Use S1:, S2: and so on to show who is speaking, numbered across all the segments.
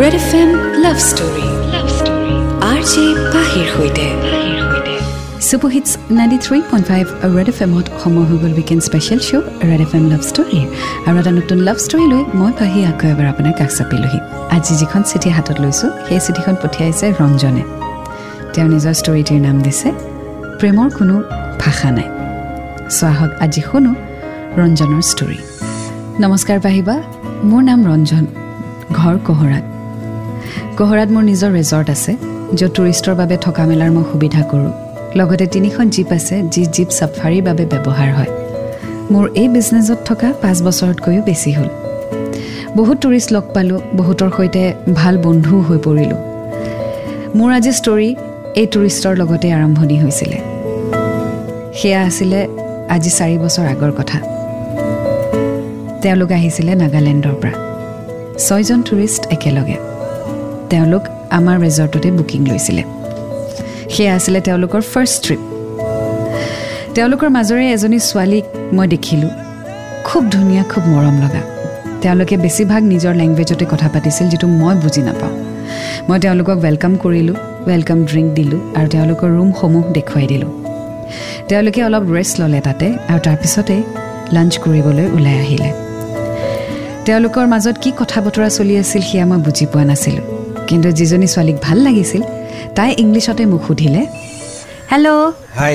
S1: Red F M love story R J পাহিৰ সৈতে super hits ninety three point five red F এমত সময় হৈ গ'ল weekend special show' red F M love ষ্টৰীৰ আৰু এটা নতুন লাভ ষ্টৰী লৈ মই পাহি আকৌ এবাৰ আপোনাৰ কাষ চাপিলোহি আজি যিখন চিঠি হাতত লৈছোঁ সেই চিঠিখন পঠিয়াইছে ৰঞ্জনে তেওঁ নিজৰ ষ্টৰীটিৰ নাম দিছে প্ৰেমৰ কোনো ভাষা নাই চ' আহক আজি শুনো ৰঞ্জনৰ ষ্টৰী নমস্কাৰ পাহিবা মোৰ নাম ৰঞ্জন ঘৰ কহৰাত কহৰাত মোৰ নিজৰ ৰেজৰ্ট আছে য'ত টুৰিষ্টৰ বাবে থকা মেলাৰ মই সুবিধা কৰোঁ লগতে তিনিখন জীপ আছে যি জীপ চাফাৰীৰ বাবে ব্যৱহাৰ হয় মোৰ এই বিজনেছত থকা পাঁচ বছৰতকৈও বেছি হ'ল বহুত টুৰিষ্ট লগ পালোঁ বহুতৰ সৈতে ভাল বন্ধুও হৈ পৰিলোঁ মোৰ আজি ষ্টৰী এই টুৰিষ্টৰ লগতে আৰম্ভণি হৈছিলে সেয়া আছিলে আজি চাৰি বছৰ আগৰ কথা তেওঁলোক আহিছিলে নাগালেণ্ডৰ পৰা ছয়জন টুৰিষ্ট একেলগে তেওঁলোক আমাৰ ৰেজৰ্টতে বুকিং লৈছিলে সেয়া আছিলে তেওঁলোকৰ ফাৰ্ষ্ট ট্ৰিপ তেওঁলোকৰ মাজৰে এজনী ছোৱালীক মই দেখিলোঁ খুব ধুনীয়া খুব মৰম লগা তেওঁলোকে বেছিভাগ নিজৰ লেংগুৱেজতে কথা পাতিছিল যিটো মই বুজি নাপাওঁ মই তেওঁলোকক ৱেলকাম কৰিলোঁ ৱেলকাম ড্ৰিংক দিলোঁ আৰু তেওঁলোকৰ ৰুমসমূহ দেখুৱাই দিলোঁ তেওঁলোকে অলপ ৰেষ্ট ল'লে তাতে আৰু তাৰপিছতে লাঞ্চ কৰিবলৈ ওলাই আহিলে তেওঁলোকৰ মাজত কি কথা বতৰা চলি আছিল সেয়া মই বুজি পোৱা নাছিলোঁ কিন্তু যিজনী ছোৱালীক ভাল লাগিছিল তাই ইংলিছতে মোক সুধিলে hello'
S2: hi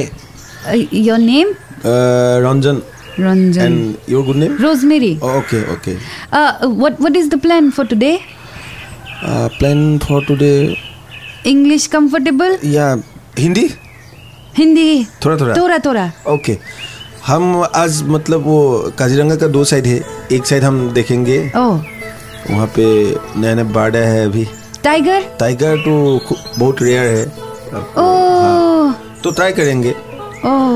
S1: your name
S2: Ranjan
S1: Ranjan
S2: and your good name
S1: Rosemary
S2: okay okay
S1: what what is the plan for today
S2: plan for today
S1: english comfortable
S2: या हिंदी
S1: hindi
S2: थोड़ा थोड़ा
S1: थोड़ा थोड़ा
S2: ओके हम आज मतलब वो काजीरंगा का दो साइड है एक साइड हम देखेंगे
S1: oh
S2: वहाँ पे नया नया बाड़ा है अभी
S1: tiger
S2: टाइगर तो खू- बहुत रेयर है
S1: oh
S2: तो ट्राई करेंगे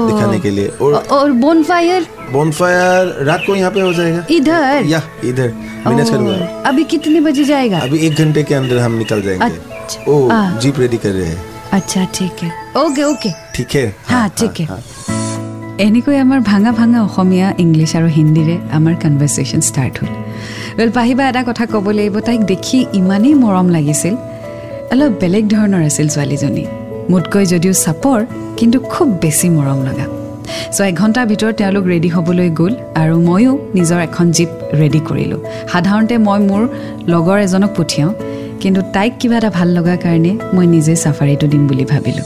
S2: दिखाने
S1: oh
S2: के लिए और
S1: और bonfire
S2: बॉनफायर रात को यहाँ पे हो जाएगा
S1: इधर
S2: या इधर मैनेज करूंगा
S1: Oh, अभी कितने बजे जाएगा
S2: अभी एक घंटे के अंदर हम निकल जाएंगे
S1: अच्छा।
S2: ओ
S1: हाँ।
S2: जीप रेडी कर रहे हैं
S1: अच्छा ठीक है ओके ओके
S2: ठीक है
S1: হা ঠিক এনেকৈ আমাৰ ভাঙা ভাঙা অসমীয়া ইংলিছ আৰু হিন্দীৰে আমাৰ কনভাৰ্চেশ্যন ষ্টাৰ্ট হ'ল ৱেল পাহিবা এটা কথা ক'ব লাগিব তাইক দেখি ইমানেই মৰম লাগিছিল অলপ বেলেগ ধৰণৰ আছিল ছোৱালীজনী মোতকৈ যদিও চাপৰ কিন্তু খুব বেছি মৰম লগা চ' এঘণ্টাৰ ভিতৰত তেওঁলোক ৰেডি হ'বলৈ গ'ল আৰু ময়ো নিজৰ এখন জীপ ৰেডি কৰিলোঁ সাধাৰণতে মই মোৰ লগৰ এজনক পঠিয়াওঁ কিন্তু তাইক কিবা এটা ভাল লগা কাৰণে মই নিজে চাফাৰীটো দিম বুলি ভাবিলোঁ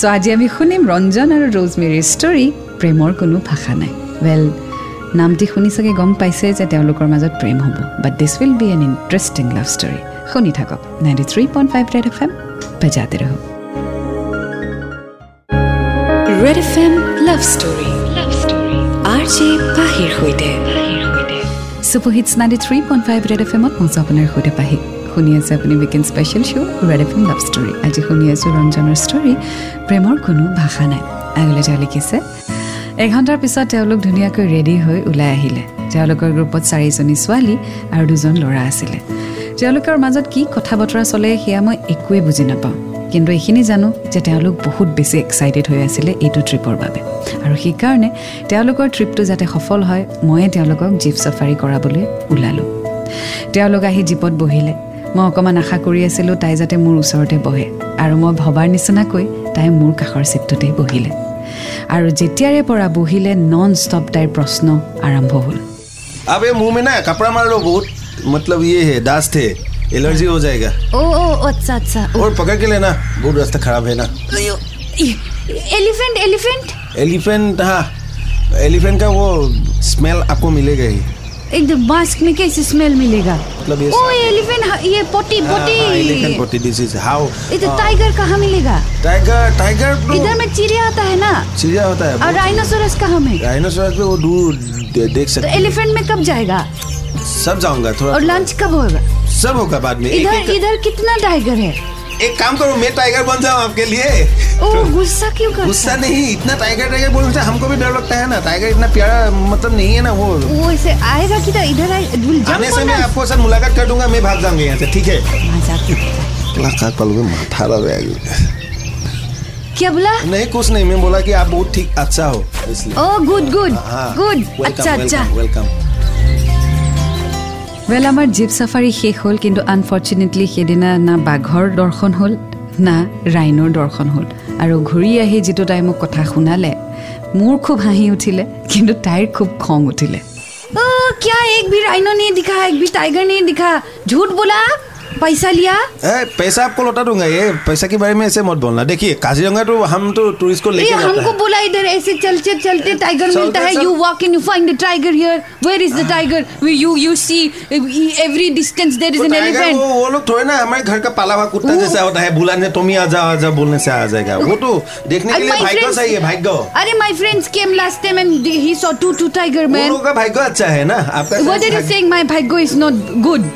S1: চ' আজি আমি শুনিম ৰঞ্জন আৰু ৰোজমেৰীৰ ষ্টৰী প্ৰেমৰ কোনো ভাষা নাই ৱেল নামটি শুনি চাগে গম পাইছে যে তেওঁলোকৰ মাজত প্ৰেম হ'ব but this will be an interesting love story শুনি থাকক ninety three point five red F M বেজাতে ৰহ red F M love story R J পাহিৰ সৈতে super hits ninety three point five red F এমত মজা আপোনাৰ সৈতে পাহি শুনি আছে আপুনি weekend special show' red F M love story আজি শুনি আছোঁ ৰঞ্জনৰ ষ্টৰী প্ৰেমৰ কোনো ভাষা নাই আগলৈ তেওঁ লিখিছে এঘণ্টাৰ পিছত তেওঁলোক ধুনীয়াকৈ ৰেডি হৈ ওলাই আহিলে তেওঁলোকৰ গ্ৰুপত চাৰিজনী ছোৱালী আৰু দুজন ল'ৰা আছিলে তেওঁলোকৰ মাজত কি কথা বতৰা চলে সেয়া মই একোৱেই বুজি নাপাওঁ কিন্তু এইখিনি জানো যে তেওঁলোক বহুত বেছি এক্সাইটেড হৈ আছিলে এইটো ট্ৰিপৰ বাবে আৰু সেইকাৰণে তেওঁলোকৰ ট্ৰিপটো যাতে সফল হয় ময়ে তেওঁলোকক জীপ চাফাৰী কৰাবলৈ ওলালোঁ তেওঁলোক আহি জীপত বহিলে মই অকণমান আশা কৰি আছিলোঁ তাই যাতে মোৰ ওচৰতে বহে আৰু মই ভবাৰ নিচিনাকৈ তাই মোৰ কাষৰ ছিটটোতেই বহিলে আৰু যেতিয়াৰে পৰা বহিলে নন ষ্টপ তাইৰ প্ৰশ্ন আৰম্ভ হ'ল
S2: अब ये मुंह में ना कपड़ा मार लो बहुत मतलब ये है दास्त है एलर्जी हो जाएगा
S3: ओ ओ अच्छा अच्छा
S2: और पकड़ के लेना बहुत रास्ता खराब है ना
S3: एलिफेंट एलिफेंट
S2: एलिफेंट हाँ एलिफेंट का वो स्मेल आपको मिलेगा ही
S3: एकदम मास्क में कैसे स्मेल मिलेगा
S2: मतलब ये
S3: ओ एलिफेंट ये पोटी
S2: एलिफेंट
S3: पोटी
S2: हाँ, पोटी हाँ। डिजीज हाउ
S3: इधर टाइगर कहाँ मिलेगा
S2: टाइगर टाइगर तो
S3: इधर में चिड़िया आता है ना
S2: चिड़िया होता है
S3: और राइनोसोरस कहाँ में
S2: डायनासोर पे वो दूर दे- देख
S3: तो
S2: सकते
S3: एलिफेंट में कब जाएगा
S2: सब जाऊंगा थोड़ा
S3: और लंच कब होगा
S2: सब होगा बाद में एक,
S3: इधर
S2: एक,
S3: इधर कितना टाइगर है
S2: एक काम करो मैं टाइगर बन जाऊँ आपके लिए
S3: ओ गुस्सा क्यों कर
S2: गुस्सा नहीं इतना टाइगर टाइगर बोल रहे हमको भी डर लगता है ना टाइगर इतना प्यारा मतलब नहीं है ना वो
S3: वो ऐसे आएगा किधर इधर आए will jump
S2: आने से
S3: on
S2: मैं
S3: us.
S2: आपको सर मुलाकात कर दूंगा मैं भाग जाऊंगा यहाँ से ठीक है
S3: मजाक में।
S2: मुलाकात पल में माथा
S3: क्या बोला
S2: नहीं कुछ नहीं मैं बोला कि आप बहुत ठीक अच्छा हो इसलिए
S3: ओ गुड गुड
S2: हाँ
S3: अच्छा। गुड अच्छा अच्छा
S2: वेलकम
S1: ৱেল আমাৰ জীপ চাফাৰী শেষ হ'ল কিন্তু আনফৰ্চুনেটলি সেইদিনা না বাঘৰ দৰ্শন হ'ল না ৰাইনৰ দৰ্শন হ'ল আৰু ঘূৰি আহি যিটো তাই মোক কথা শুনালে মোৰ খুব হাঁহি উঠিলে কিন্তু তাইৰ খুব খং উঠিলে
S3: आ, क्या एक भी राइनो नहीं दिखा एक भी टाइगर नहीं दिखा झूठ बोला पैसा लिया
S2: ए, पैसा आपको लौटा दूंगा ये पैसा के बारे में ऐसे मत बोलना देखिए काजीरंगा तो हम तो टूरिस्ट को
S3: ये
S2: लेके जाता
S3: हमको
S2: है
S3: बोला इधर ऐसे चलते चलते टाइगर
S2: चलते
S3: मिलता है
S2: चल-
S3: you walk in you find the tiger here where is the tiger you you see every distance there is
S2: तो
S3: एन
S2: टाइगर
S3: एलिफेंट
S2: वो वो लोग थोड़े ना हमारे घर का पाला हुआ कुत्ता जैसा होता है बुलाने तुम ही आ जाओ आ जाओ बोलने से आ जाएगा वो तो देखने के
S3: And
S2: लिए
S3: my
S2: भाग्य
S3: friends-
S2: चाहिए भाग्य वो
S3: अरे my friends came last time and he saw two two tiger man
S2: लोगों का भाग्य अच्छा है ना आपका
S3: व्हाट आर यू
S2: भाग्य-
S3: सेइंग माय भाग्य इज नॉट गुड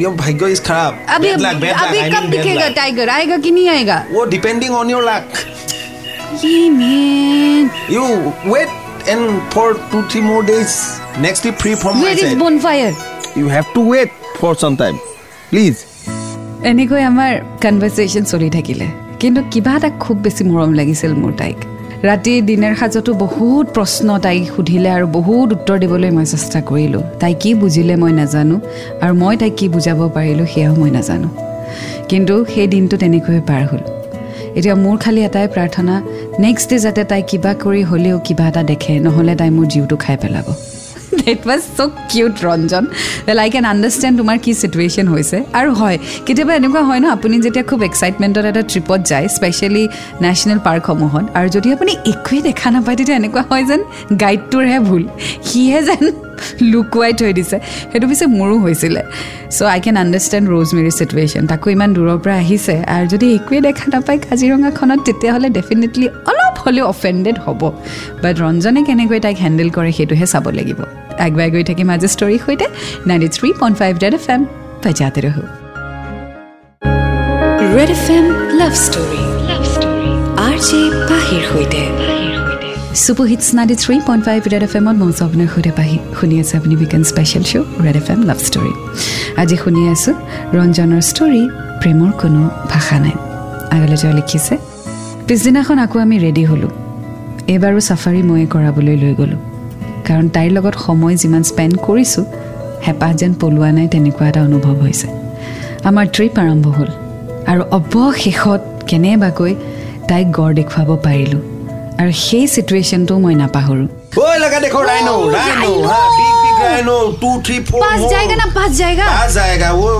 S2: ये भाग्य इज खराब
S3: अभी
S2: bad luck, bad luck,
S3: अभी
S2: I mean Oh,
S3: कब
S2: bad
S3: दिखेगा
S2: luck.
S3: टाइगर आएगा कि नहीं आएगा
S2: वो डिपेंडिंग ऑन योर लक
S3: ये man
S2: You wait and for two three more days. Next day free from my
S3: where is
S2: side.
S3: Bonfire
S2: You have to wait for some time. Please.
S1: এনেকৈ আমাৰ conversation চলি থাকিলে কিন্তু কিবা এটা খুব বেছি মৰম লাগিছিল মোৰ তাইক ৰাতি দিনৰ সাজতো বহুত প্ৰশ্ন তাইক সুধিলে আৰু বহুত উত্তৰ দিবলৈ মই চেষ্টা কৰিলোঁ তাই কি বুজিলে মই নাজানো আৰু মই তাইক কি বুজাব পাৰিলোঁ সেয়াও মই নাজানো কিন্তু সেই দিনটো তেনেকৈয়ে পাৰ হ'ল এতিয়া মোৰ খালি এটাই প্ৰাৰ্থনা নেক্সট ডে যাতে তাই কিবা কৰি হ'লেও কিবা এটা দেখে নহ'লে তাই মোৰ জীৱটো খাই পেলাব that was so' cute Ranjan well I can understand তোমাৰ কি চিটুৱেশ্যন হৈছে আৰু হয় কেতিয়াবা এনেকুৱা হয় ন আপুনি যেতিয়া খুব এক্সাইটমেণ্টত এটা ট্ৰিপত যায় স্পেচিয়েলি নেশ্যনেল পাৰ্কসমূহত আৰু যদি আপুনি একোৱেই দেখা নাপায় তেতিয়া এনেকুৱা হয় যেন গাইডটোৰহে ভুল সিহে যেন লুকুৱাই থৈ দিছে সেইটো পিছে মোৰো হৈছিলে so' I can understand Rosemary situation তাকো ইমান দূৰৰ পৰা আহিছে আৰু যদি একোৱেই দেখা নাপায় কাজিৰঙাখনত তেতিয়াহ'লে ডেফিনেটলি অলপ হ'লেও অফেণ্ডেড হ'ব বাট ৰঞ্জনে কেনেকৈ তাইক হেণ্ডেল কৰে সেইটোহে চাব লাগিব আগবাই গৈ থাকিম আজি ষ্টৰীৰ সৈতে ninety three point five red F M বজাতে ৰহো red F M love story R J পাহিৰ সৈতে super hits ninety three point five red F এমত মঞ্চ আপোনাৰ সৈতে পাহি শুনি আছে আপুনি weekend special show' red F M love story আজি শুনি আছোঁ ৰঞ্জনৰ ষ্টৰী প্ৰেমৰ কোনো ভাষা নাই আগলৈ তেওঁ লিখিছে পিছদিনাখন আকৌ আমি ৰেডি হ'লোঁ এইবাৰো চাফাৰী ময়ে কৰাবলৈ লৈ গ'লোঁ কাৰণ তাইৰ লগত সময় যিমান স্পেণ্ড কৰিছোঁ হেঁপাহ যেন পলোৱা নাই তেনেকুৱা এটা অনুভৱ হৈছে আমাৰ ট্ৰিপ আৰম্ভ হ'ল আৰু অৱশেষত কেনেবাকৈ তাইক গড় দেখুৱাব পাৰিলোঁ আৰু সেই চিটুৱেশ্যনটো মই নাপাহৰোঁ
S2: ओए लगा देखो राइनो
S3: Oh,
S2: राइनो
S3: rhino.
S2: हाँ big big rhino two three four
S3: पास जाएगा ना पास जाएगा
S2: पास जाएगा वो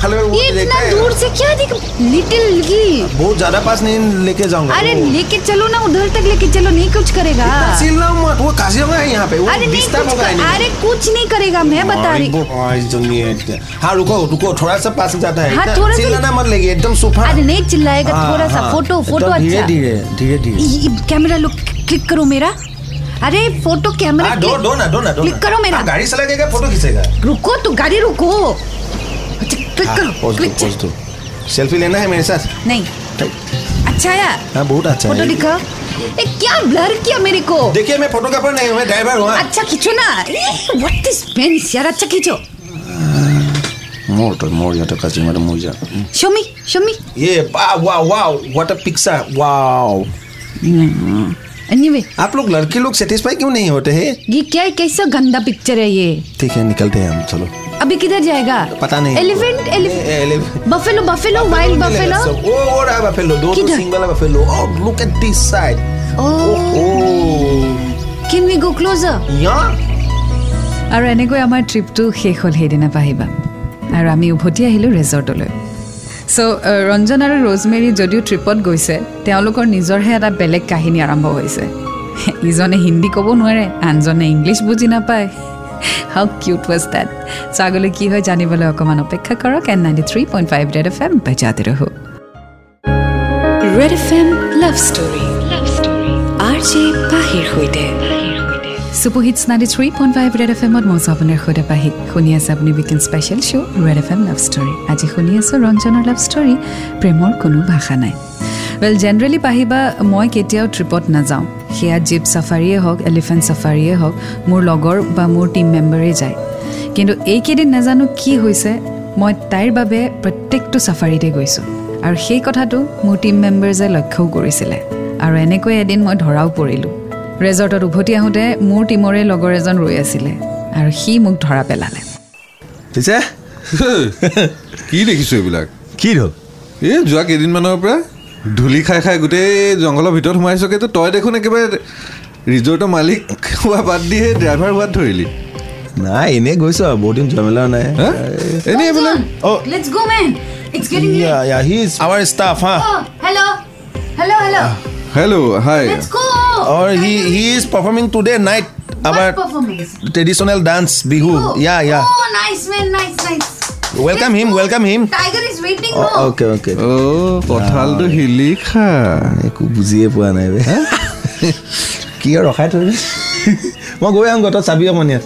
S2: फल में वो
S3: ये
S2: देखा
S3: इतना
S2: है
S3: दूर से क्या दिख लिटिल लिटिल
S2: बहुत ज्यादा पास नहीं लेके जाऊंगा
S3: अरे
S2: वो।
S3: लेके चलो ना उधर तक लेके चलो नहीं कुछ करेगा
S2: चिल्लाओ मत वो काजीरंगा है यहाँ पे वो
S3: अरे नहीं
S2: डिस्टर्ब
S3: कुछ
S2: होगा
S3: कर,
S2: एनिमल।
S3: अरे कुछ नहीं करेगा मैं बता
S2: और
S3: रही
S2: वो और जंगली- हाँ रुको रुको थोड़ा सा पास में जाता है
S3: हाँ,
S2: इतना
S3: थोड़ा सा-
S2: चिल्लाना मत लगे एकदम सोफा
S3: अरे नहीं चिल्लाएगा
S2: हाँ,
S3: थोड़ा सा
S2: हाँ।
S3: फोटो
S2: एकदम
S3: फोटो अच्छा
S2: धीरे धीरे धीरे धीरे
S3: ये- ये कैमरा लुक क्लिक करो मेरा अरे फोटो कैमरा
S2: हाँ दो
S3: क्लिक-
S2: दो ना दो ना दो ना।
S3: क्लिक करो मेरा
S2: हाँ, गाड़ी चलाएगा फोटो खींचेगा
S3: रुको तो गाड़ी रुको
S2: हाँ,
S3: अच्छा, क्लिक करो
S2: पोज दो
S3: क्लिक
S2: पोज दो सेल्फी लेना है मेरे साथ
S3: नहीं अच्छा आया
S2: हाँ बहुत अच्छा
S3: फोटो
S2: है
S3: दिखा ए, क्या ब्लर किया मेरे को
S2: देखिए मैं फोटोग्राफर नहीं हूँ मैं ड्राइवर हूँ हाँ।
S3: अच्छा खींचो ना व्हाट इज पेंस यार अच्छा खींचो
S2: मोड़ तो मोड़ जाता कच्चे मेरा मुझे जा
S3: शमी शमी
S2: ये वाह वाह वाह व्हाट अ पिक्चर वाह
S3: एनीवे
S2: आप लोग लड़के लोग सेटिस्फाई क्यों नहीं होते हैं
S3: ये क्या है कैसा गंदा पिक्चर है ये
S2: ठीक है निकलते हैं हम चलो
S3: अभी किधर जाएगा
S2: पता नहीं
S3: एलिफेंट
S2: ए- ए-
S3: elephant
S2: elephant.
S3: Buffalo buffalo wild buffalo
S2: सब- वो वो रहा बफेलो दो दो
S3: किधर?
S2: सिंगल बफेलो और look at this side
S3: oh
S2: oh.
S3: Can we go closer
S2: यहाँ
S1: আৰু এনেকৈ আমাৰ ট্ৰিপটো শেষ হ'ল সেইদিনা পাহিবা আৰু আমি উভতি আহিলোঁ ৰেজৰ্টলৈ চ' ৰঞ্জন আৰু ৰ'জমেৰী যদিও ট্ৰিপত গৈছে তেওঁলোকৰ নিজৰহে এটা বেলেগ কাহিনী আৰম্ভ হৈছে ইজনে হিন্দী ক'ব নোৱাৰে আনজনে ইংলিছ বুজি নাপায় হাউ কিউট ৱাজ ডেট চ' আগলৈ কি হয় জানিবলৈ অকণমান অপেক্ষা কৰক এন ninety three point five red F M বাজাতে ৰহো red F M love story R J পাহিৰ সৈতে super hits ninety three point five red F এমত মজা আপোনাৰ সৈতে পাহি শুনি আছে আপুনি weekend special show' red F M love story আজি শুনি আছোঁ ৰঞ্জনৰ লাভ ষ্টৰী প্ৰেমৰ কোনো ভাষা নাই ৱেল জেনেৰেলি পাহিবা মই কেতিয়াও ট্ৰিপত নাযাওঁ সেয়া জীপ চাফাৰীয়ে হওক এলিফেণ্ট চাফাৰীয়ে হওক মোৰ লগৰ বা মোৰ টীম মেম্বাৰেই যায় কিন্তু এইকেইদিন নাজানো কি হৈছে মই তাইৰ বাবে প্ৰত্যেকটো চাফাৰীতে গৈছোঁ আৰু সেই কথাটো মোৰ টীম মেম্বাৰ্ছে লক্ষ্যও কৰিছিলে আৰু এনেকৈ এদিন মই ধৰাও পৰিলোঁ ৰেজৰ্টত উভতি আহোঁতে মোৰ টীমৰে লগৰ এজন ৰৈ আছিলে আৰু সি মোক ধৰা পেলালে
S2: ठीक है
S4: কি দেখিছোঁ এইবিলাক
S2: কি হ'ল
S4: এই যোৱা কেইদিনমানৰ পৰা ধূলি খাই খাই গোটেই জংঘলৰ ভিতৰত সোমাই চকেতো তই দেখোন একেবাৰে ৰিজৰ্টৰ মালিক হোৱা বাদ দি সেই ড্ৰাইভাৰ হোৱাত ধৰিলি
S2: নাই এনেই গৈছো আৰু বহুত দিন যোৱা মেলাও নাই
S4: হা? এনেই এইবিলাক
S2: Oh.
S3: Let's go man it's getting
S2: Yeah, yeah, he is our staff, huh?
S3: Hello hello hello
S2: Ah,
S4: hello' hi
S3: let's go
S2: Or he he is performing today night our
S3: performance
S2: traditional dance bihu. Yeah, yeah.
S3: Oh, nice man, nice, nice.
S2: Welcome him, welcome him.
S3: Tiger is waiting.
S2: Oh,
S3: no?
S2: okay, okay.
S4: অ' কঁঠালটো হিলি খা
S2: একো বুজিয়ে পোৱা নাই বে কি আৰু ৰখাই থৈ মই গৈ আহোঁ গতত চাবি অকণ ইয়াত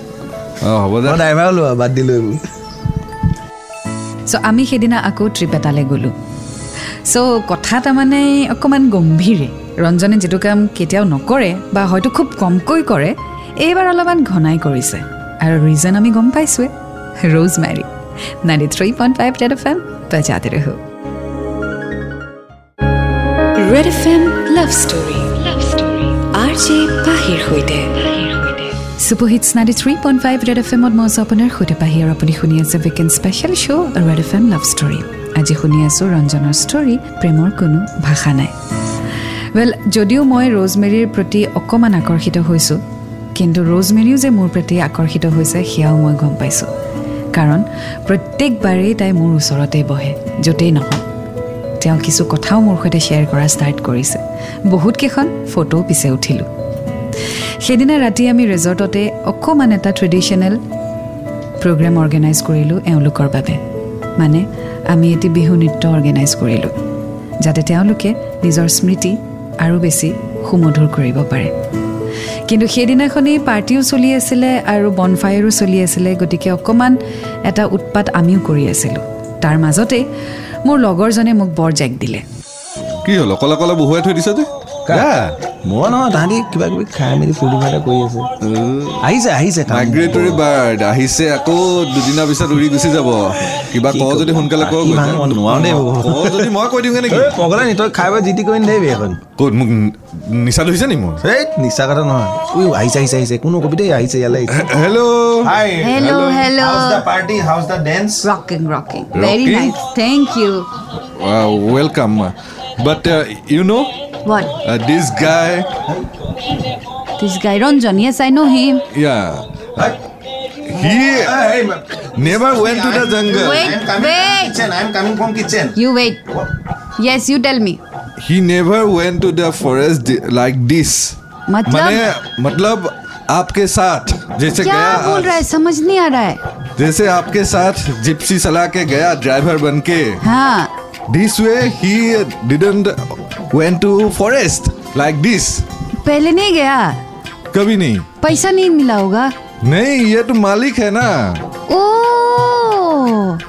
S4: অঁ হ'ব দে
S2: মই ড্ৰাইভাৰ লোৱা বাদ দিলোঁ এইবোৰ
S1: চ' আমি সেইদিনা আকৌ ট্ৰিপ এটালৈ গ'লোঁ চ' কথা তাৰমানে অকণমান গম্ভীৰে ৰঞ্জনে যিটো কাম কেতিয়াও নকৰে বা হয়তো খুব কমকৈ কৰে এইবাৰ অলপমান ঘনাই কৰিছে আৰু ৰিজন আমি গম পাইছোঁৱে Rosemary ninety three point five red F M বজাতে ৰহো red F M love story love story R J পাহিৰ সৈতে super hits ninety three point five red F এমত মই আছোঁ আপোনাৰ সৈতে পাহি আৰু আপুনি শুনি আছে weekend special show' red F M love story আজি শুনি আছোঁ ৰঞ্জনৰ ষ্টৰী প্ৰেমৰ কোনো ভাষা নাই ৱেল যদিও মই ৰ'জমেৰীৰ প্ৰতি অকণমান আকৰ্ষিত হৈছোঁ কিন্তু ৰ'জমেৰীও যে মোৰ প্ৰতি আকৰ্ষিত হৈছে সেয়াও মই গম পাইছোঁ কাৰণ প্ৰত্যেকবাৰেই তাই মোৰ ওচৰতেই বহে য'তেই নহওক তেওঁ কিছু কথাও মোৰ সৈতে শ্বেয়াৰ কৰা ষ্টাৰ্ট কৰিছে বহুতকেইখন ফটোও পিছে উঠিলোঁ সেইদিনা ৰাতি আমি ৰিজৰ্টতে অকণমান এটা ট্ৰেডিশ্যনেল প্ৰগ্ৰেম অৰ্গেনাইজ কৰিলোঁ এওঁলোকৰ বাবে মানে আমি এটি বিহু নৃত্য অৰ্গেনাইজ কৰিলোঁ যাতে তেওঁলোকে নিজৰ স্মৃতি আৰু বেছি সুমধুৰ কৰিব পাৰে কিন্তু সেইদিনাখনেই পাৰ্টিও চলি আছিলে আৰু বনফায়াৰো চলি আছিলে গতিকে অকণমান এটা উৎপাত আমিও কৰি আছিলোঁ তাৰ মাজতে মোৰ লগৰজনে মোক বৰ জেক দিলে
S4: কি হ'ল অকলে অকলে বহুৱাই থৈ দিছ যে
S2: মই নহয় তাহাঁতি কিবা কিবি খাই মেলি ফূৰ্তি ফাৰ্তা কৰি আছে আহিছে আহিছে কাম।
S4: মাইগ্ৰেটৰী বাৰ্ড আহিছে আকৌ দুদিনৰ পিছত উৰি গুচি যাব কিবা
S2: কি
S4: কওঁ
S2: ক'ব?
S4: যদি সোনকালে কওঁ
S2: আহি ভাঙ, মই নোৱাৰো দেই ক'ব।
S4: কওঁ যদি মই কৈ দিওঁগে নেকি
S2: এই পগলা নি তই খাই বৈ জিতি কৰি নাথাকিবি এখন
S4: ক'ত মোক নিচা ধৰিছে নি মোৰ
S2: এই নিচা কথা নহয় উই আহিছে আহিছে আহিছে কোনো কবি দেই আহিছে ইয়ালৈ আহিছে
S4: hello'
S2: hi
S3: Hello, hello.
S2: How's the party how's the dance
S3: Rocking, rocking. Very
S4: Rocking?
S3: nice. Thank you.
S4: Welcome but you know'
S3: What?
S4: This guy
S3: This guy Ranjan. Yes, I know him.
S4: Yeah he never went to the jungle
S3: Wait, wait.
S2: I am coming from kitchen
S3: You wait. Yes, you tell me.
S4: He never went to the forest like this মানে
S3: मतलब
S4: মতলব आपके साथ जैसे
S3: क्या
S4: गया
S3: बोल
S4: आज।
S3: रहा है समझ नहीं आ रहा है
S4: जैसे आपके साथ जिप्सी सला के गया ड्राइवर बन के
S3: हाँ
S4: this way he didn't went to forest like this
S3: पहले नहीं गया
S4: कभी नहीं
S3: पैसा नहीं मिला होगा
S4: नहीं ये तो मालिक है ना
S3: ओ Oh,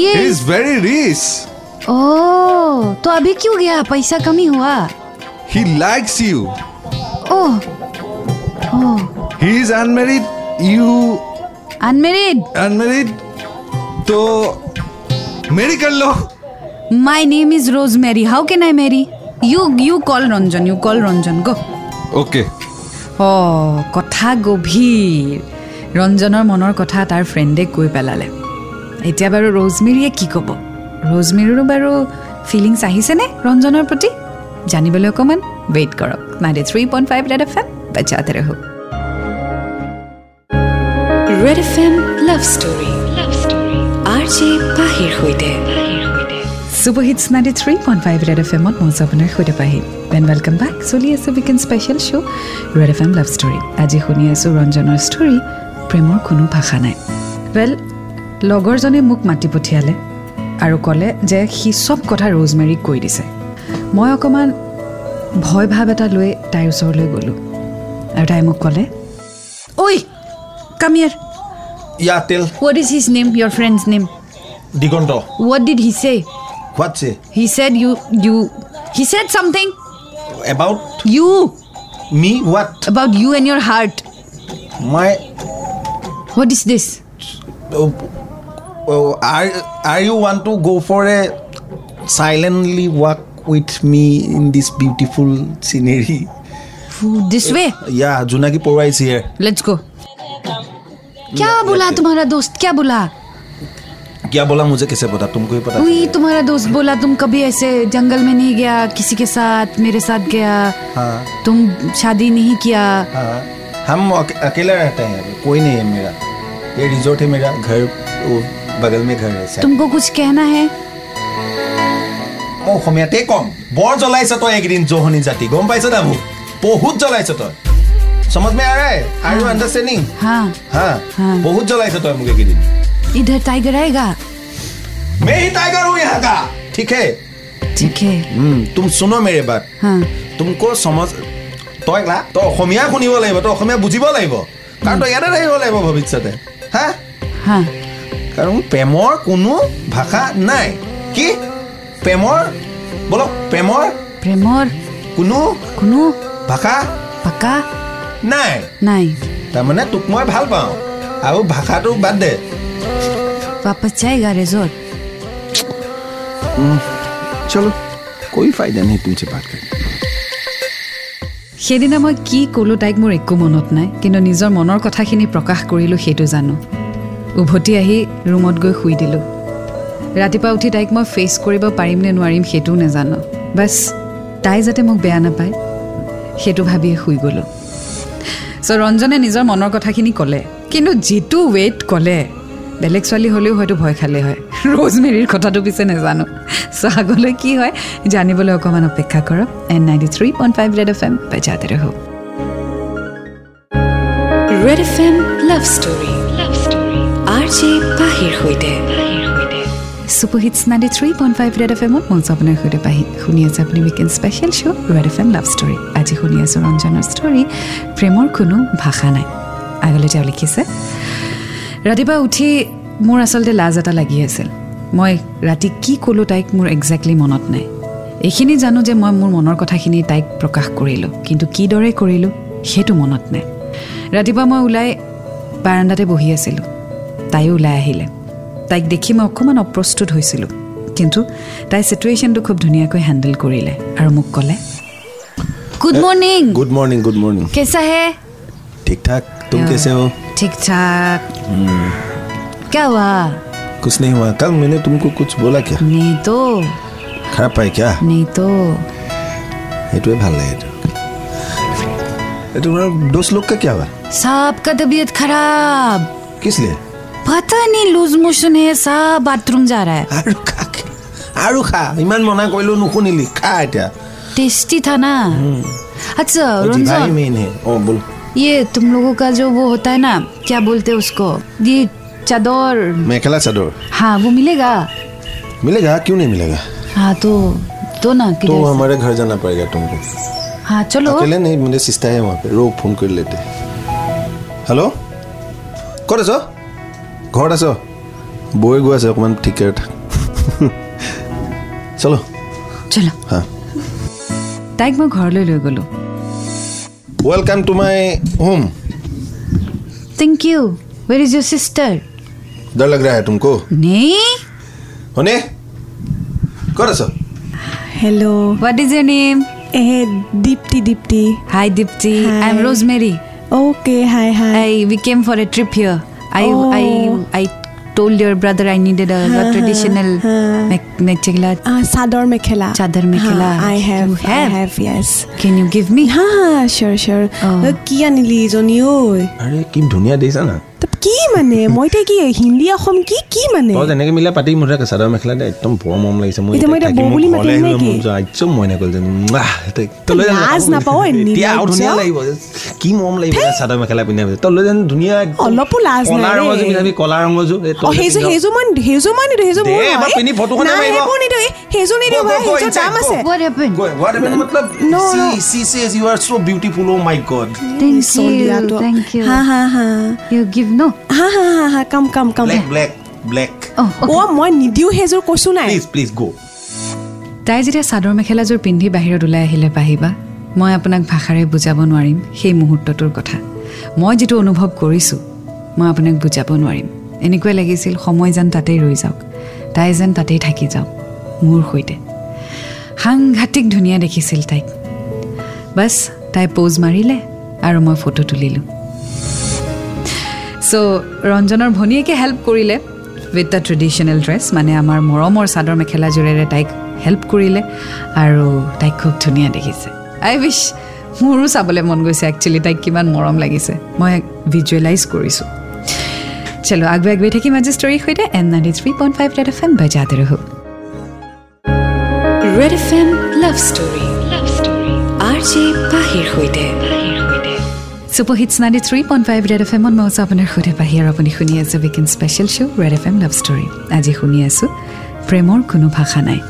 S3: ये
S4: इज वेरी रिच
S3: ओ तो अभी क्यों गया पैसा कमी हुआ Oh,
S4: he likes you
S3: oh oh
S4: he is unmarried you
S3: unmarried
S4: unmarried तो मेरी कर लो
S3: My name is Rosemary. How can I marry? You you call Ranjan. You call Ranjan. Go.
S4: Okay
S1: অঁ কথা গভীৰ ৰঞ্জনৰ মনৰ কথা তাৰ ফ্ৰেণ্ডে কৈ পেলালে এতিয়া বাৰু ৰ'জমেৰীয়ে কি ক'ব ৰ'জমেৰীৰো বাৰু ফিলিংছ আহিছেনে ৰঞ্জনৰ প্ৰতি জানিবলৈ অকণমান ৱেইট কৰক ninety three point five red F M বাচ্চাতে ৰহো red F M love story love story R J পাহিৰ সৈতে super hits ninety three point five red F এমত মই আছোঁ আপোনাৰ সৈতে পাহি দেন ৱেলকাম বেক চলি আছে weekend special show' red F M love story আজি শুনি আছোঁ ৰঞ্জনৰ ষ্টৰী প্ৰেমৰ কোনো ভাষা নাই ৱেল লগৰজনে মোক মাতি পঠিয়ালে আৰু ক'লে যে সি চব কথা ৰ'জমেৰীক কৈ দিছে মই অকণমান ভয় ভাৱ এটা লৈ তাইৰ ওচৰলৈ গ'লোঁ আৰু তাই মোক ক'লে
S3: Oi, come here.
S2: ইয়া তেল
S3: What is his name? Your friend's name?
S2: Diganta
S3: What did he say?
S2: What say
S3: He said you you. He said something.
S2: About
S3: You
S2: me what
S3: about you and your heart.
S2: My
S3: What is this?
S2: Oh, are are you ৱান to go' for a silently walk with me in this beautiful scenery
S3: Phew, This way.
S2: ইয়া জোনাকী পৰুৱা is here
S3: Let's go. क्या बोला तुम्हारा दोस्त क्या बोला
S2: क्या बोला मुझे कैसे पता तुमको ही पता
S3: वही तुम्हारा दोस्त बोला तुम कभी ऐसे जंगल में नहीं गया किसी के साथ मेरे साथ गया
S2: हाँ
S3: तुम शादी नहीं किया
S2: हाँ हम अक- अकेला रहते हैं अभी, कोई नहीं है मेरा ये रिजोर्ट है मेरा घर वो बगल में घर है शायद।
S3: तुमको कुछ कहना है
S2: মই অসমীয়াতে কম বৰ জ্বলাইছ তই এইকেইদিন জহনী জাতি গম পাইছ না মোক বহুত জ্বলাইছ তই সমজ মে আৰে আৰ ইউ আণ্ডাৰষ্টেণ্ডিং
S3: हाँ
S2: হা
S3: हाँ।
S2: বহুত জ্বলাইছ তই মোক এইকেইদিন
S3: इधर टाइगर आएगा
S2: মে হি টাইগার হুঁ ইহাঁ কা ঠিক হে
S3: ठीक है
S2: উম, তুম শুনো মেৰে বাত
S3: हाँ
S2: তুমকো সমজ তই লা তই অসমীয়া শুনিব লাগিব তই অসমীয়া বুজিব লাগিব কাৰণ তই ইয়াতে থাকিব লাগিব ভৱিষ্যতে হা
S3: हाँ
S2: কাৰণ প্ৰেমৰ কোনো ভাষা নাই কি প্ৰেমৰ বলক প্ৰেমৰ
S3: प्रेम और
S2: কোনো
S3: कुनो
S2: ভাষা
S3: पक्का
S2: নাই
S3: नहीं
S2: তাৰমানে তোক মই ভাল পাওঁ আৰু ভাষাটো বাদ দে
S3: वापस जाएगा रिजोर्ट
S2: চলো কৈ ফাইদা নাই তুমছে বাত কৰি
S1: সেইদিনা মই কি ক'লোঁ তাইক মোৰ একো মনত নাই কিন্তু নিজৰ মনৰ কথাখিনি প্ৰকাশ কৰিলোঁ সেইটো জানো উভতি আহি ৰুমত গৈ শুই দিলোঁ ৰাতিপুৱা উঠি তাইক মই ফেচ কৰিব পাৰিম নে নোৱাৰিম সেইটোও নাজানো বাছ তাই যাতে মোক বেয়া নাপায় সেইটো ভাবিয়ে শুই গ'লোঁ চ' ৰঞ্জনে নিজৰ মনৰ কথাখিনি ক'লে কিন্তু যিটো ৱেইট ক'লে বেলেগ ছোৱালী হ'লেও হয়তো ভয় খালে হয় ৰ'জমেৰীৰ কথাটো পিছে নাজানো চ' আগলৈ কি হয় জানিবলৈ অকণমান অপেক্ষা কৰক এন ninety three point five red F M বেজাতে ৰহ red F M love story love story R J পাহিৰ সৈতে super hits ninety three point five red F এমত মঞ্চ আপোনাৰ সৈতে পাহি শুনি আছে আপুনি weekend special show' red F M love story আজি শুনি আছোঁ ৰঞ্জনৰ ষ্টৰী প্ৰেমৰ কোনো ভাষা নাই আগলৈ তেওঁ লিখিছে ৰাতিপুৱা উঠি মোৰ আচলতে লাজ এটা লাগি আছিল মই ৰাতি কি ক'লোঁ তাইক মোৰ একজেক্টলি মনত নাই এইখিনি জানো যে মই মোৰ মনৰ কথাখিনি তাইক প্ৰকাশ কৰিলোঁ কিন্তু কিদৰে কৰিলোঁ সেইটো মনত নাই ৰাতিপুৱা মই ওলাই বাৰাণ্ডাতে বহি আছিলোঁ তাইও ওলাই আহিলে তাইক দেখি মই অকণমান অপ্ৰস্তুত হৈছিলোঁ কিন্তু তাই ছিটুৱেশ্যনটো খুব ধুনীয়াকৈ হেণ্ডেল কৰিলে আৰু মোক ক'লে
S3: good morning
S2: good morning good morning
S3: कैसा है
S2: ঠিক ঠাক তুম
S3: Yeah.
S2: কেছে হো
S3: ठीक ठाक क्या हुआ
S2: कुछ नहीं हुआ कल मैंने तुमको कुछ बोला क्या
S3: नहीं तो
S2: খারাপ পাই क्या
S3: नहीं तो
S2: সেইটোৱে ভাল লাগে এইটো এইটো তোমাৰ দোষ লোক কা क्या हुआ
S3: साहब का तबीयत खराब
S2: किस लिए
S3: पता नहीं लूज मोशन है साहब बाथरूम जा रहा है
S2: আৰু খা আৰু খা ইমান মনা কৰিলোঁ নুশুনিলি খা এতিয়া
S3: टेस्टी था ना अच्छा
S2: জিভাই
S3: रंजन
S2: মেইন হে অঁ বোল
S3: ये तुम लोगों का जो वो होता है ना क्या बोलते हैं उसको ये चादर
S2: মেখেলা চাদৰ
S3: हाँ वो मिलेगा
S2: मिलेगा क्यों नहीं मिलेगा
S3: हाँ तो दो ना
S2: तो
S3: किधर से?
S2: हमारे घर जाना पड़ेगा तुमको
S3: हाँ चलो
S2: अकेले नहीं मेरे सिस्टर है वहाँ पे रो फोन कर लेते हेलो ক'ত আছ ঘৰত আছ বৈ গৈ আছে অকণমান ঠিকে থাক চলো
S3: चलो
S2: হা
S1: তাইক মই ঘৰলৈ লৈ গ'লোঁ
S2: welcome to my home
S3: thank you where is your sister
S2: डर लग रहा है तुमको
S3: नहीं
S2: होने ক'ত আছ
S5: hello
S3: What is your name?
S5: ए Dipti Dipti
S3: Hi Dipti.
S5: Hi.
S3: I'm Rosemary.
S5: Okay hi hi
S3: I we came for a trip here. I
S5: Oh.
S3: I I told your brother I needed a, a
S5: Huh,
S3: traditional
S5: huh, huh.
S3: me- mechela.
S5: आ, chador mekhela
S3: chador mekhela.
S5: I have
S3: You
S5: I
S3: have?
S5: Have yes
S3: Can you give me?
S5: हाँ हाँ sure sure
S3: Oh.
S5: अ, কি আনিলি ইজনী ঐ
S2: আৰে কি ধুনীয়া দেখিছা না
S5: তব কি মানে মই এতিয়া কি হিন্দী অসম কি কি মানে
S2: তই যেনেকৈ মিলাই পাতি মুঠতে চাদৰ মেখেলা দে একদম বৰ মৰম লাগিছে মোৰ
S5: এতিয়া মই এতিয়া বৌ বুলি মাতিম নে কি?
S2: একদম মইনা কৰিলো
S5: লাজ নাপাওঁ, এ, নিৰ্লজ্জ।
S2: ধুনীয়া লাগিব কি মৰম লাগিব চাদৰ মেখেলা পিন্ধাৰ পিছত তই লৈ যেন ধুনীয়া একদম
S5: অলপো লাজ নাই
S2: কলা
S5: দেই।
S2: ৰঙৰ যোৰ পিন্ধাবি কলা ৰঙৰ যোৰ এই
S5: অ
S2: তই যে
S5: সেইযোৰ
S2: পিন্ধ।
S5: সেইযোৰ মান সেইযোৰ মান নিদিওঁ সেইযোৰ
S2: দে,
S5: মোৰ
S2: এবাৰ
S5: নহয়।
S2: পিন্ধি photo খন
S5: নাই,
S2: মাৰিব।
S5: সেইবোৰ নিদিওঁ এই, সেইযোৰ
S2: Go,
S5: নিদিওঁ
S2: go,
S5: ভাই,
S2: go
S5: সেইযোৰ
S2: inside,
S5: দাম
S2: go.
S5: আছে
S3: What happened?
S2: Go, what happened? मतलब,
S5: No, no.
S2: she- she says you are so beautiful, oh my God.
S3: Thank
S5: চলিয়াটো।
S3: you. Thank you.
S5: হা হা হা
S3: You give no.
S5: হা হা হা হা come come come
S2: Black, black, black.
S3: Oh.
S5: অ মই নিদিওঁ সেইযোৰ কৈছো নাই
S2: Please, please, go.
S1: তাই যেতিয়া চাদৰ মেখেলাযোৰ পিন্ধি বাহিৰত ওলাই আহিলে পাহিবা মই আপোনাক ভাষাৰে বুজাব নোৱাৰিম সেই মুহূৰ্তটোৰ কথা মই যিটো অনুভৱ কৰিছোঁ মই আপোনাক বুজাব নোৱাৰিম এনেকুৱাই লাগিছিল সময় যেন তাতেই ৰৈ যাওক তাই যেন তাতেই থাকি যাওক মোৰ সৈতে সাংঘাতিক ধুনীয়া দেখিছিল তাইক বাছ তাই প'জ মাৰিলে আৰু মই ফটো তুলিলোঁ চ' ৰঞ্জনৰ ভনীয়েকে হেল্প কৰিলে উইথ দ্য ট্ৰেডিশ্যনেল ড্ৰেছ মানে আমাৰ মৰমৰ চাদৰ মেখেলাযোৰেৰে তাইক হেল্প কৰিলে আৰু তাইক খুব ধুনীয়া দেখিছে আই উইছ মোৰো চাবলৈ মন গৈছে একচুৱেলি তাইক কিমান মৰম লাগিছে মই ভিজুৱেলাইজ কৰিছোঁ চলো আগুৱাই আগুৱাই থাকিম আজি ষ্টৰীৰ সৈতে N ninety three point five red F M বাজাতে ৰহো red F M love story love story R J পাহিৰ সৈতে super hits ninety three point five red F এমত মই আছোঁ আপোনাৰ সৈতে বাহিৰ আপুনি শুনি আছে weekend special show' red F M love story আজি শুনি আছোঁ প্ৰেমৰ কোনো ভাষা নাই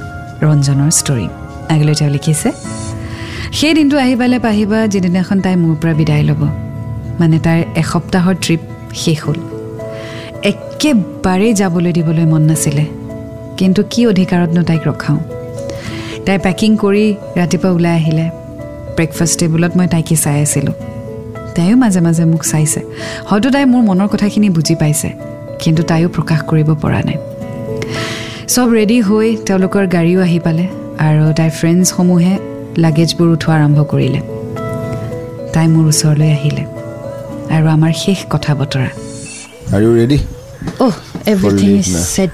S1: ৰঞ্জনৰ ষ্টৰী আগলৈ তেওঁ লিখিছে সেই দিনটো আহি পালে পাহিবা যিদিনাখন তাই মোৰ পৰা বিদায় ল'ব মানে তাইৰ এসপ্তাহৰ ট্ৰিপ শেষ হ'ল একেবাৰেই যাবলৈ দিবলৈ মন নাছিলে কিন্তু কি অধিকাৰতনো তাইক ৰখাওঁ তাই পেকিং কৰি ৰাতিপুৱা ওলাই আহিলে ব্ৰেকফাষ্ট টেবুলত মই তাইকে চাই আছিলোঁ তাইও মাজে মাজে মোক চাইছে হয়তো তাই মোৰ মনৰ কথাখিনি বুজি পাইছে কিন্তু তাইও প্ৰকাশ কৰিব পৰা নাই চব ৰেডি হৈ তেওঁলোকৰ গাড়ীও আহি পালে আৰু তাইৰ ফ্ৰেণ্ডছসমূহে লাগেজবোৰ উঠোৱা আৰম্ভ কৰিলে তাই মোৰ ওচৰলৈ আহিলে আৰু আমাৰ শেষ কথা বতৰা
S2: are you ready
S3: Oh, everything
S2: Forlitna.
S3: is set.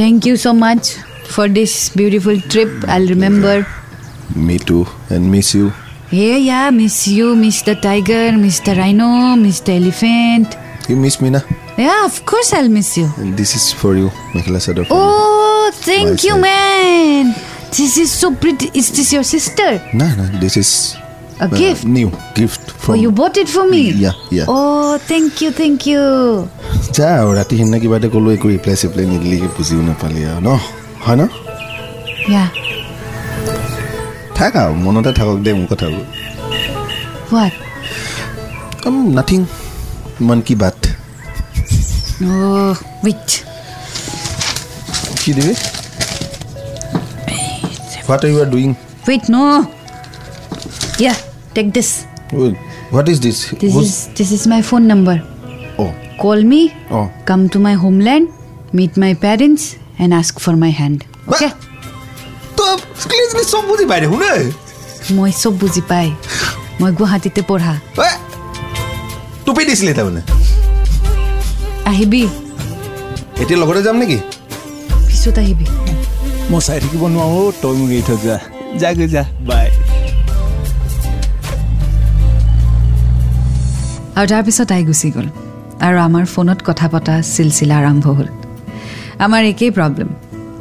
S3: Thank you so much for this beautiful trip. I'll remember.
S2: Me too and miss you
S3: Yeah, yeah, miss you, miss the tiger, miss the rhino, miss the elephant.
S2: You miss me না
S3: Yeah, of course I'll miss you.
S2: This is for you mekhela chador
S3: Oh, thank
S2: My
S3: you,
S2: side.
S3: man. This is so pretty. Is this your sister?
S2: না না this is
S3: A gift?
S2: New gift
S3: Oh, you bought it for me?
S2: Yeah, yeah.
S3: Oh, thank you, thank you.
S2: যা আৰু ৰাতি সিদিনা কিবা এটা ক'লোঁ একো ৰিপ্লাই চিপ্লাই নিদিলি বুজিও নাপালি আৰু ন হয় ন
S3: Yeah.
S2: থাক আৰু মনতে থাকক দে মোৰ কথাবোৰ
S3: What? Um,
S2: নাথিং মন কি বাত
S3: Oh, wait.
S2: কি দিবি what you are doing
S3: Wait, no. Yeah, take this.
S2: What is this
S3: This is this is my phone number.
S2: অ'
S3: Call me.
S2: Oh.
S3: Come to my homeland, meet my parents, and ask for my hand. Okay.
S2: তই চব বুজি পাই দেখোন দেই
S3: মই চব বুজি পাই মই গুৱাহাটীতে পঢ়া
S2: এ, টুপি দিছিলি তাৰমানে
S3: আহিবি
S2: এতিয়া লগতে যাম নেকি
S3: পিছত আহিবি
S6: মই চাই থাকিব নোৱাৰো তই মোক এৰি থৈ যা যাগৈ যা বাই
S1: আৰু তাৰপিছত তাই গুচি গ'ল আৰু আমাৰ ফোনত কথা পতা চিলচিলা আৰম্ভ হ'ল আমাৰ একেই প্ৰব্লেম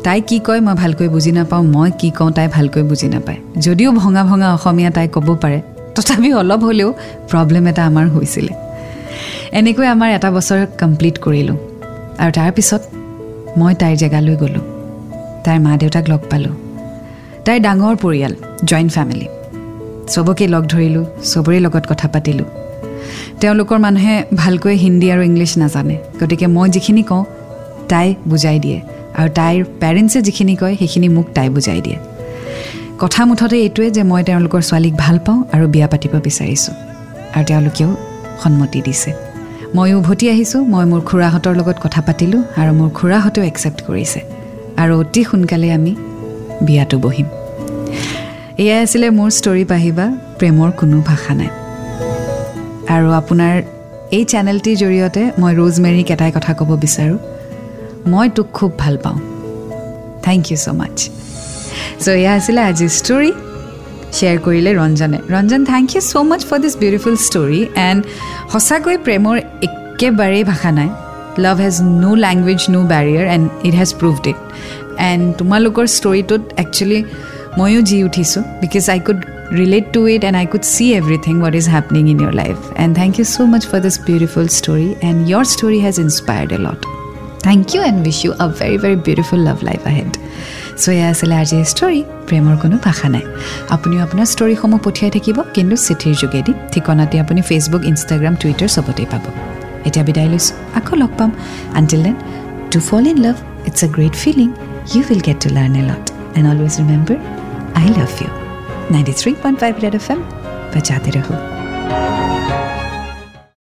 S1: তাই কি কয় মই ভালকৈ বুজি নাপাওঁ মই কি কওঁ তাই ভালকৈ বুজি নাপায় যদিও ভঙা ভঙা অসমীয়া তাই ক'ব পাৰে তথাপি অলপ হ'লেও প্ৰব্লেম এটা আমাৰ হৈছিলে এনেকৈ আমাৰ এটা বছৰ কমপ্লিট কৰিলোঁ আৰু তাৰপিছত মই তাইৰ জেগালৈ গ'লোঁ তাইৰ মা দেউতাক লগ পালোঁ তাইৰ ডাঙৰ পৰিয়াল জইণ্ট ফেমিলি চবকে লগ ধৰিলোঁ চবৰে লগত কথা পাতিলোঁ তেওঁলোকৰ মানুহে ভালকৈ হিন্দী আৰু ইংলিছ নাজানে গতিকে মই যিখিনি কওঁ তাই বুজাই দিয়ে আৰু তাইৰ পেৰেণ্টছে যিখিনি কয় সেইখিনি মোক তাই বুজাই দিয়ে কথা মুঠতে এইটোৱে যে মই তেওঁলোকৰ ছোৱালীক ভাল পাওঁ আৰু বিয়া পাতিব বিচাৰিছোঁ আৰু তেওঁলোকেও সন্মতি দিছে ময়ো উভতি আহিছোঁ মই মোৰ খুৰাহঁতৰ লগত কথা পাতিলোঁ আৰু মোৰ খুৰাহঁতেও একচেপ্ট কৰিছে আৰু অতি সোনকালে আমি বিয়াটো বহিম এয়াই আছিলে মোৰ ষ্টৰী পাহিবা প্ৰেমৰ কোনো ভাষা নাই আৰু আপোনাৰ এই চেনেলটিৰ জৰিয়তে মই ৰোজমেৰীক এটাই কথা ক'ব বিচাৰোঁ মই তোক খুব ভাল পাওঁ thank you so' much so' এয়া আছিলে আজিৰ ষ্টৰী শ্বেয়াৰ কৰিলে ৰঞ্জনে Ranjan thank you so' much for this beautiful story and সঁচাকৈ প্ৰেমৰ একেবাৰেই ভাষা নাই love has no' language no' barrier and it has proved it and তোমালোকৰ ষ্টৰীটোত একচুৱেলি ময়ো জি উঠিছোঁ because I could relate to it and I could see everything what is happening in your life and thank you so' much for this beautiful story and your story has inspired a lot Thank you and wish you a very, very beautiful love life ahead. So' এয়া আছিলে আজিৰ story প্ৰেমৰ কোনো ভাষা নাই আপুনিও আপোনাৰ ষ্টৰীসমূহ পঠিয়াই থাকিব কিন্তু চিঠিৰ যোগেদি ঠিকনাতে আপুনি ফেচবুক ইনষ্টাগ্ৰাম টুইটাৰ চবতেই পাব এতিয়া বিদায় লৈছোঁ আকৌ লগ পাম until then to fall in love it's a great feeling you will get to learn a lot and always remember I love you ninety three point five red F M বা যাতে ৰহো